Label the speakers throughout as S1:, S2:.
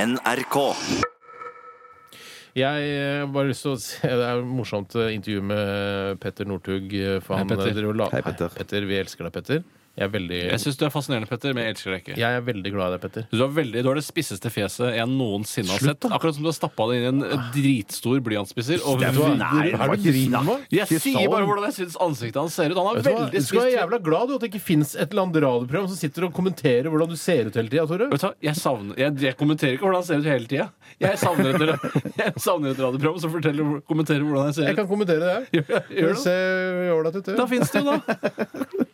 S1: NRK.
S2: Jeg eh, har bare lyst til å se Det er et morsomt eh, intervju med Petter Northug. eh, For
S3: Hei,
S2: han,
S3: Petter.
S2: eh, driver og la-
S4: Hei, Petter.
S2: Vi elsker deg, Petter. Jeg er veldig,
S3: Jeg syns du er fascinerende, Petter, men jeg elsker deg ikke.
S2: jeg er veldig glad i deg, Petter.
S3: Du har, veldig, du har det spisseste fjeset jeg noensinne har sett. Akkurat som du har stappa det inn i
S2: Ah.
S3: en dritstor blyantspisser. Og
S2: Vet du hva?
S3: Nei,
S2: Hva er det du driver med?
S3: jeg sier bare hvordan jeg syns ansiktet hans ser ut. Han har
S2: Vet du hva? Du
S3: veldig
S2: skal være
S3: spist
S2: jævla glad du at det ikke fins et eller annet radioprogram som sitter og kommenterer hvordan du ser ut hele tida, Tore.
S3: Vet du hva? Jeg, savner, jeg, jeg kommenterer ikke hvordan han ser ut hele tida. Jeg savner et, jeg savner et radioprogram som forteller, kommenterer hvordan jeg ser
S2: Jeg
S3: ut.
S2: kan kommentere det. her.
S3: Gjør det.
S2: ser ålreit ut, det.
S3: Da fins det jo, da.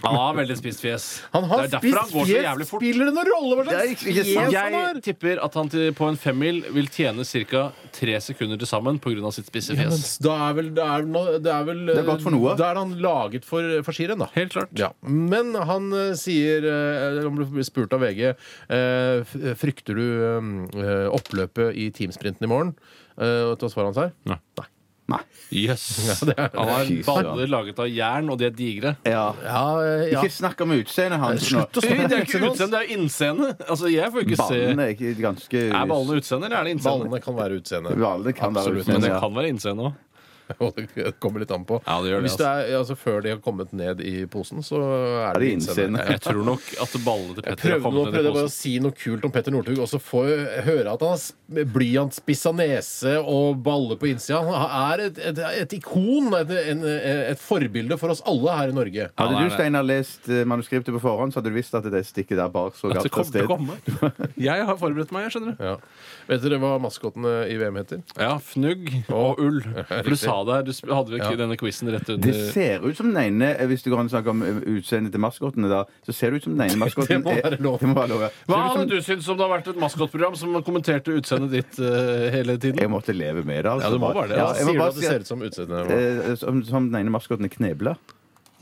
S3: Han har veldig spist fjes.
S2: Han har
S3: det er derfor
S2: spist
S3: han går så jævlig
S2: fjes.
S3: fort.
S2: Spiller det noen rolle hva
S4: Det er
S2: slags
S4: ikke- ikke
S2: fjes
S4: sant.
S2: han har?
S3: Jeg tipper at han til, på en femmil vil tjene ca. tre sekunder til sammen pga. sitt spisse
S2: Ja, men
S3: fjes.
S2: Da er vel, da er, no- det er vel eh,
S4: Det er godt for noe.
S2: Da er han laget for, for skirenn, da.
S3: Helt klart.
S2: Ja. Men han eh, sier eh, Han ble spurt av VG eh, f- Frykter du eh, oppløpet i teamsprinten i morgen. Eh, og vet du hva svaret hans er?
S3: Nei.
S4: Nei.
S3: Jøss.
S2: Ja, det er-
S3: Han har
S4: Fy søren.
S3: baller laget av jern, og de er digre.
S4: Ja.
S2: Ja, eh, ja.
S4: Ikke snakk om utseendet hans nå.
S2: Slutt å
S3: Det
S2: snakke om
S3: er ikke
S2: utseendet hans.
S3: utseende, det er innseende. Altså, jeg får ikke se
S4: Ballene er ikke ganske
S3: Er ballene utseende, eller er det innseende?
S2: Ballene kan være utseende.
S4: Ballene kan være
S2: Absolutt,
S4: utseende,
S3: Men det
S4: ja.
S3: kan være innseende òg.
S2: Og Det kommer litt an på.
S3: Ja, det gjør det,
S2: Hvis det er, altså, før de har kommet ned i posen, så er det
S4: det innseende?
S2: Ja.
S3: Jeg tror nok at ballene til Petter
S2: Prøvde, nå
S3: har kommet ned
S2: prøvde
S3: i
S2: jeg bare å
S3: posen.
S2: si noe kult om Petter Northug, og så får jeg høre at han har sp- blyantspissa nese og baller på innsida. Han er et, et, et ikon, et, en, et forbilde for oss alle her i Norge.
S4: Hadde
S3: Ja, det er
S4: du,
S3: det.
S4: Steinar, lest eh, manuskriptet på forhånd, så hadde du visst at det stikket der bar så
S3: At det
S4: galt av
S3: kom til å
S4: sted.
S3: komme. Jeg har forberedt meg, jeg, skjønner du.
S2: Ja. Vet dere hva maskottene i VM heter?
S3: Ja, Fnugg og ull. For du
S2: Riktig.
S3: sa det her. Du sp- hadde vel
S2: Ja.
S3: ikke denne quizen rett
S4: Det
S3: under
S4: ser ut som den ene eh, Hvis du går an å snakke om eh, utseendet til maskottene, da, så ser det ut som den ene maskotten
S2: Det må være lov.
S4: Det må være lov. ja.
S3: Hva
S4: Ser ut
S3: hadde
S4: som-
S3: du syntes om det har vært et maskotprogram som kommenterte utseendet ditt eh, hele tiden?
S4: Jeg måtte leve med det. Altså.
S3: Ja, du må bare det,
S4: Ja,
S3: altså.
S4: jeg må
S2: Sier du
S4: bare
S2: at det
S4: si
S2: ser
S4: at,
S2: ut som utseendet?
S4: eh, som, som den ene maskotten er knebla.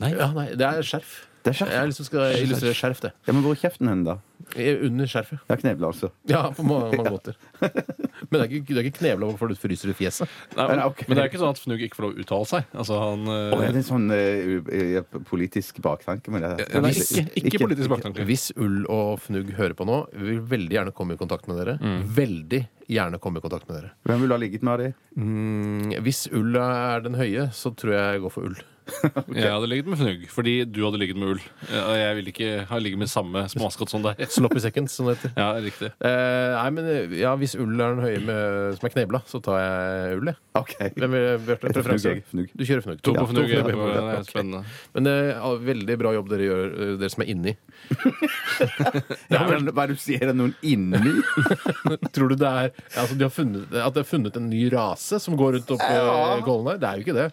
S2: Ja, nei, det er skjerf.
S4: Det er skjerf.
S2: Jeg har lyst til å skal illustrere skjerf, det.
S4: Ja, men hvor er kjeften hen, da?
S2: Under skjerfet.
S4: Ja, knebla, altså.
S2: Ja, på mange, mange måter. Men det er ikke, det er ikke knevla hvorfor du fryser i fjeset.
S3: Nei,
S4: Nei, ok.
S3: Men det er ikke sånn at Fnugg ikke får lov å uttale seg. Altså, han, eh,
S4: Å, er det en sånn eh, u- eh, politisk baktanke med det? her?
S3: ja, nei, ikke, ikke politisk baktanke.
S2: Hvis Ull og Fnugg hører på nå, vi vil veldig gjerne komme i kontakt med dere. Veldig gjerne komme i kontakt med dere.
S4: Hvem ville ha ligget med de?
S2: Mm, Hvis Ull er den høye, så tror jeg jeg går for Ull.
S3: Jeg hadde ligget med Fnugg fordi du hadde ligget med ull. Ja, Og jeg ville ikke ha ligget med samme maskot som deg.
S2: Sloppy seconds, som det heter.
S3: Ja, riktig.
S2: Eh, nei, men eh, ja, Hvis Ull er den høye med, som er knebla, så tar jeg Ull, jeg.
S4: OK.
S2: Hvem vil Bjarte?
S4: Fnugg,
S2: Preferanse?
S4: jeg. Fnugg.
S2: Du kjører Fnugg.
S3: To
S2: Ja,
S3: på Fnugg.
S2: to
S3: ja,
S2: Fnugg.
S3: på- det er Spennende.
S2: Men eh, ja, veldig bra jobb dere gjør, eh, dere som er inni.
S4: Ja, men Hva er det du sier? Er det noen inni?
S2: Tror du det er altså, de har funnet, At de har funnet en ny rase som går rundt oppå ja. gollen her? Det er jo ikke det.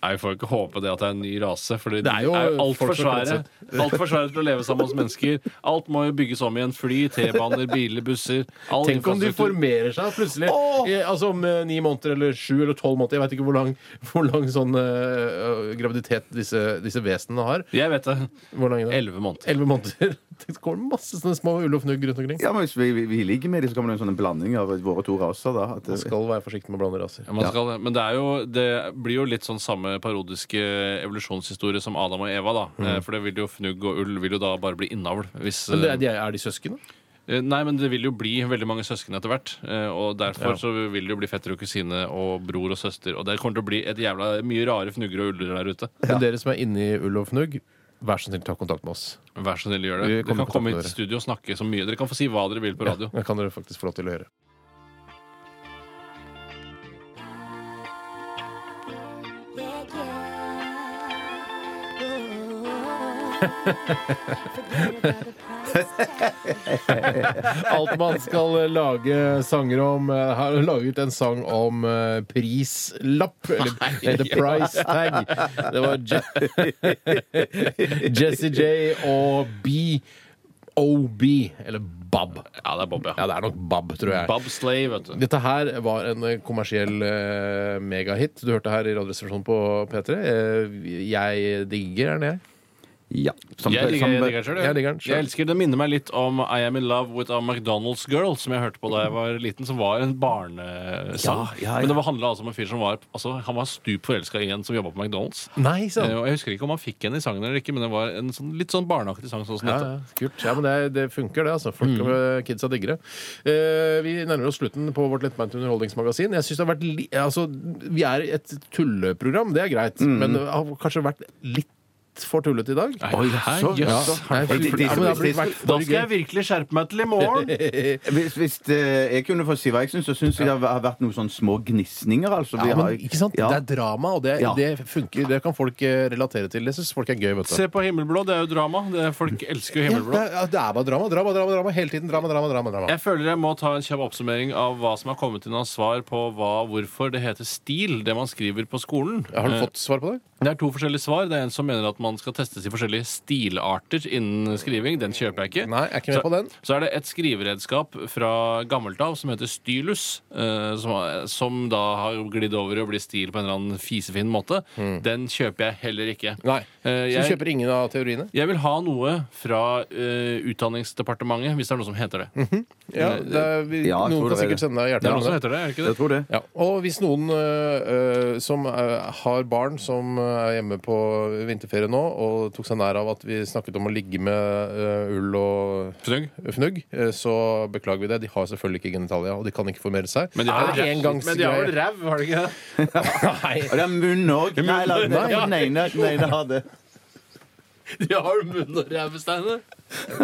S3: Nei, Vi får ikke håpe det at det er en ny rase. For
S2: Det
S3: de
S2: er
S3: er
S2: jo
S3: jo altfor
S2: folk som har
S3: svære. Alt for svære til å leve sammen hos mennesker. Alt må jo bygges om igjen. Fly, T-baner, biler, busser. All
S2: Tenk om de
S3: infrastruktur.
S2: formerer seg plutselig. I, altså Om eh, ni måneder eller sju eller tolv måneder. Jeg veit ikke hvor lang, hvor lang sånn eh, graviditet disse, disse vesenene har.
S3: Jeg vet det.
S2: Hvor lang er det?
S3: Elleve måneder.
S2: Elleve måneder. Det går masse sånne små ull og fnugg rundt omkring.
S4: Ja, men Hvis vi, vi, vi ligger med dem, så kommer det en sånn blanding av våre to raser. da at, eh,
S2: Man skal være forsiktig med å blande raser.
S3: Ja, man skal, det. Men det, er jo, det blir jo litt sånn samme parodiske evolusjonshistorie som Adam og Eva. da Eh, For det vil jo fnugg og ull vil jo da bare bli innavl. Hvis,
S2: Mm. Men det, er- de er, er de søsken? da?
S3: eh, Nei, men det vil jo bli veldig mange søsken etter hvert. eh, Og derfor så vil det jo bli fetter og kusine og bror og søster. Og det kommer til å bli et jævla mye rare fnugger og uller der ute.
S2: Men dere som er inni ull og fnugg, vær så snill ta kontakt med oss.
S3: Vær så snill, gjør det.
S2: Vi
S3: Dere
S2: kommer
S3: kan
S2: på
S3: komme
S2: toppen
S3: hit
S2: av
S3: i studio og snakke så mye. Dere kan få si hva dere vil på radio.
S2: Det kan dere faktisk få lov til å gjøre. Alt man skal eh, lage sanger om eh, Har laget en sang om eh, prislapp. Eller eh, The Price Tag. Det var Je Jesse J og B. OB. Eller Bob.
S3: Ja, det er Bob,
S2: Ja,
S3: ja.
S2: det er nok Bob, tror jeg.
S3: Bob Slay, vet du.
S2: Dette her var en eh, kommersiell eh, megahit. Du hørte her i Radioresepsjonen på P3. Eh, jeg digger den, jeg.
S4: Ja. Som-
S3: Jeg digger
S4: som-
S3: jeg digger den selv,
S2: Jeg digger den selv.
S3: Jeg elsker, det minner meg litt om I Am In Love With A McDonald's Girl, som jeg hørte på da jeg var liten, som var en barnesang.
S4: Ja, ja, ja.
S3: Men det var- handla altså om en fyr som var altså, Han var stup forelska i en som jobba på McDonald's.
S2: Nei,
S3: Eh,
S2: sant?
S3: Og Jeg husker ikke om han fikk henne i sangen eller ikke, men det var en sånn, litt sånn barneaktig sang. Sånn som
S2: Ja, ja,
S3: dette.
S2: kult. Ja, men det, det funker, det. altså.
S3: Mm.
S2: Folk og kidsa digger det. Eh, vi nærmer oss slutten på vårt lettbeinte underholdningsmagasin. Jeg synes det har vært li altså, Vi er et tulleprogram, det er greit,
S3: Mm.
S2: men det har kanskje vært litt for tullete i dag?
S3: Nei,
S4: Oi,
S3: her,
S4: så-
S3: jøss.
S4: ja.
S2: Nei, for-
S4: de- de-
S2: ja, men det har blitt vært
S3: Da
S2: for
S3: skal jeg
S2: gøy.
S3: virkelig skjerpe meg til i morgen!
S4: Hvis, hvis eh, jeg kunne få si hva jeg syns, så syns jeg det har vært noen sånne små gnisninger. Altså. Vi
S2: Ja,
S4: har-
S2: men, ikke sant?
S4: Ja.
S2: Det er drama, og det,
S4: Ja.
S2: det funker. Det kan folk eh, relatere til. Det syns folk er gøy. vet du.
S3: Se på Himmelblå, det er jo drama. Det er, folk elsker jo
S2: Ja,
S3: Himmelblå.
S2: det, er- ja, det er bare drama, drama, drama. drama. Hele tiden drama, drama, drama. drama.
S3: Jeg føler jeg må ta en kjapp oppsummering av hva som har kommet inn av svar på hva, hvorfor det heter stil, det man skriver på skolen.
S2: Har du fått svar på det?
S3: Eh, Det er to forskjellige svar. Det er en som mener at man skal testes i forskjellige stilarter innen skriving. Den kjøper jeg ikke.
S2: Nei, jeg er ikke med
S3: Så-
S2: på den.
S3: Så er det et skriveredskap fra gammelt av som heter stylus, eh, som, har- som da har glidd over i å bli stil på en eller annen fisefin måte. Den kjøper jeg heller ikke.
S2: Mm. Nei.
S3: Eh,
S2: Så du
S3: jeg-
S2: kjøper ingen av teoriene?
S3: Jeg vil ha noe fra eh, Utdanningsdepartementet, hvis det er noe som heter det.
S2: Ja,
S3: Eh,
S2: det er, vi,
S4: Ja, jeg
S2: noen kan
S4: tror det er
S2: sikkert
S4: det.
S2: sende deg
S3: Det er noe som
S2: hjertet.
S3: heter det, er det ikke
S4: Jeg
S3: det?
S4: tror det.
S2: Ja, og hvis noen øh, øh, som øh, har barn som eh, er hjemme på vinterferie nå, og tok seg nær av at vi snakket om å ligge med øh, ull og
S3: Fnugg?
S2: fnugg, øh, så beklager vi det. De har selvfølgelig ikke genitalia, og de kan ikke formere seg. Ah,
S3: Men de har
S2: det er
S3: vel ræv- men de har vel
S2: engangsgreie.
S3: ræv, har de ikke det?
S2: Nei,
S4: Og det er munn òg. Nei, la-
S3: Munn, ja.
S4: den ene den ene har det.
S3: De har jo munn og rævesteiner.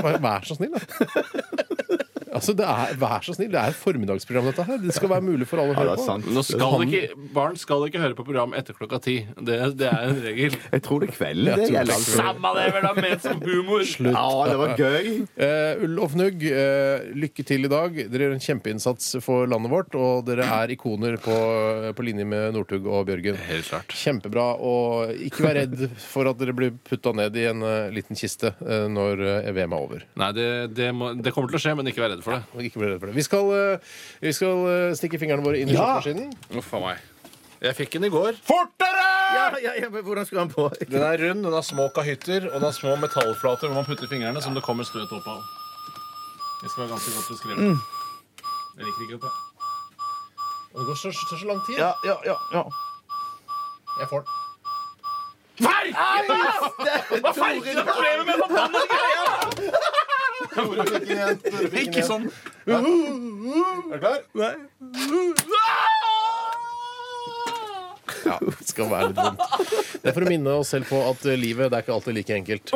S2: Bare vær så snill, da. Altså, det er, vær så snill, det er et formiddagsprogram, dette her. Det skal være mulig for alle å
S4: Ja, det
S2: høre
S4: er
S2: på.
S4: sant.
S3: Nå skal ikke, barn skal ikke høre på program etter klokka ti. Det, det er en regel.
S4: Jeg tror det er kvelden.
S2: Jeg tror det
S4: Det,
S2: er
S4: gjelder altså.
S3: Samma det, vel, da, ment som humor!
S4: Ja, det var gøy.
S2: Eh, ull og fnugg, eh, lykke til i dag. Dere gjør en kjempeinnsats for landet vårt, og dere er ikoner på, på linje med Northug og Bjørgen.
S3: Helt klart.
S2: Kjempebra. Og ikke vær redd for at dere blir putta ned i en eh, liten kiste eh, når eh, VM er over.
S3: Nei, det, det, må, det kommer til å skje, men ikke vær redd for det.
S2: Ikke bli redd for det. Vi skal, eh, vi skal eh, stikke fingrene våre inn i
S4: Ja!
S2: skytemaskinen.
S3: Uff a meg. Jeg fikk den i går.
S4: Ja, ja, ja, men hvordan skal han på?
S3: Den er rund, den har små kahytter, og den har små metallflater hvor man putter fingrene, som det kommer støt opp av. Det skal være ganske godt beskrevet. Jeg liker ikke dette.
S2: Og det går så, så, så lang tid.
S4: Ja, ja, ja, ja.
S2: Jeg får den.
S3: Hva faen er problemet med forbanna greia?! Ikke sånn.
S2: Er du klar? Ja, det skal være litt vondt. Det er for å minne oss selv på at eh, livet det er ikke alltid like enkelt.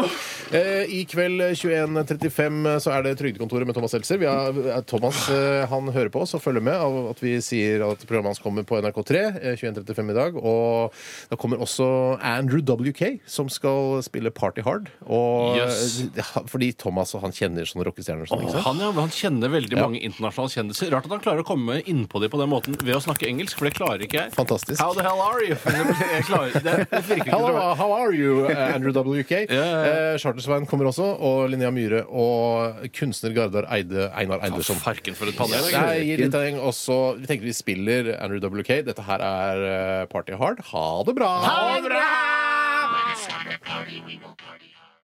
S2: Eh, I kveld eh, 21.35 så er det Trygdekontoret med Thomas Seltzer. Vi har, eh, Thomas eh, han hører på oss og følger med av at vi sier at programmet hans kommer på NRK3 eh, 21.35 i dag. Og da kommer også Andrew WK, som skal spille Party Hard. Og,
S3: Yes.
S2: eh, ha- Fordi Thomas og han kjenner sånne rockestjerner. og sånn, ikke sant?
S3: Han, ja, han kjenner veldig mange internasjonale kjendiser. Rart at han klarer å komme innpå dem på den måten ved å snakke engelsk, for det klarer ikke jeg.
S2: Fantastisk.
S3: How the hell are you? Jeg klarer, det, det virker ikke
S2: Hello,
S3: troverdig.
S2: uh, how are you, uh, Andrew WK?
S3: ja,
S2: Eh, Chartersveien kommer også, og Linnea Myhre og kunstner Gardar Eide, Einar Eidersson.
S3: Farken for et panel.
S2: Det er- gir litt poeng, og så- Vi tenker vi spiller Andrew WK. Dette her er eh, Party Hard. Ha det bra!
S3: bra!
S1: Summer party, we will party.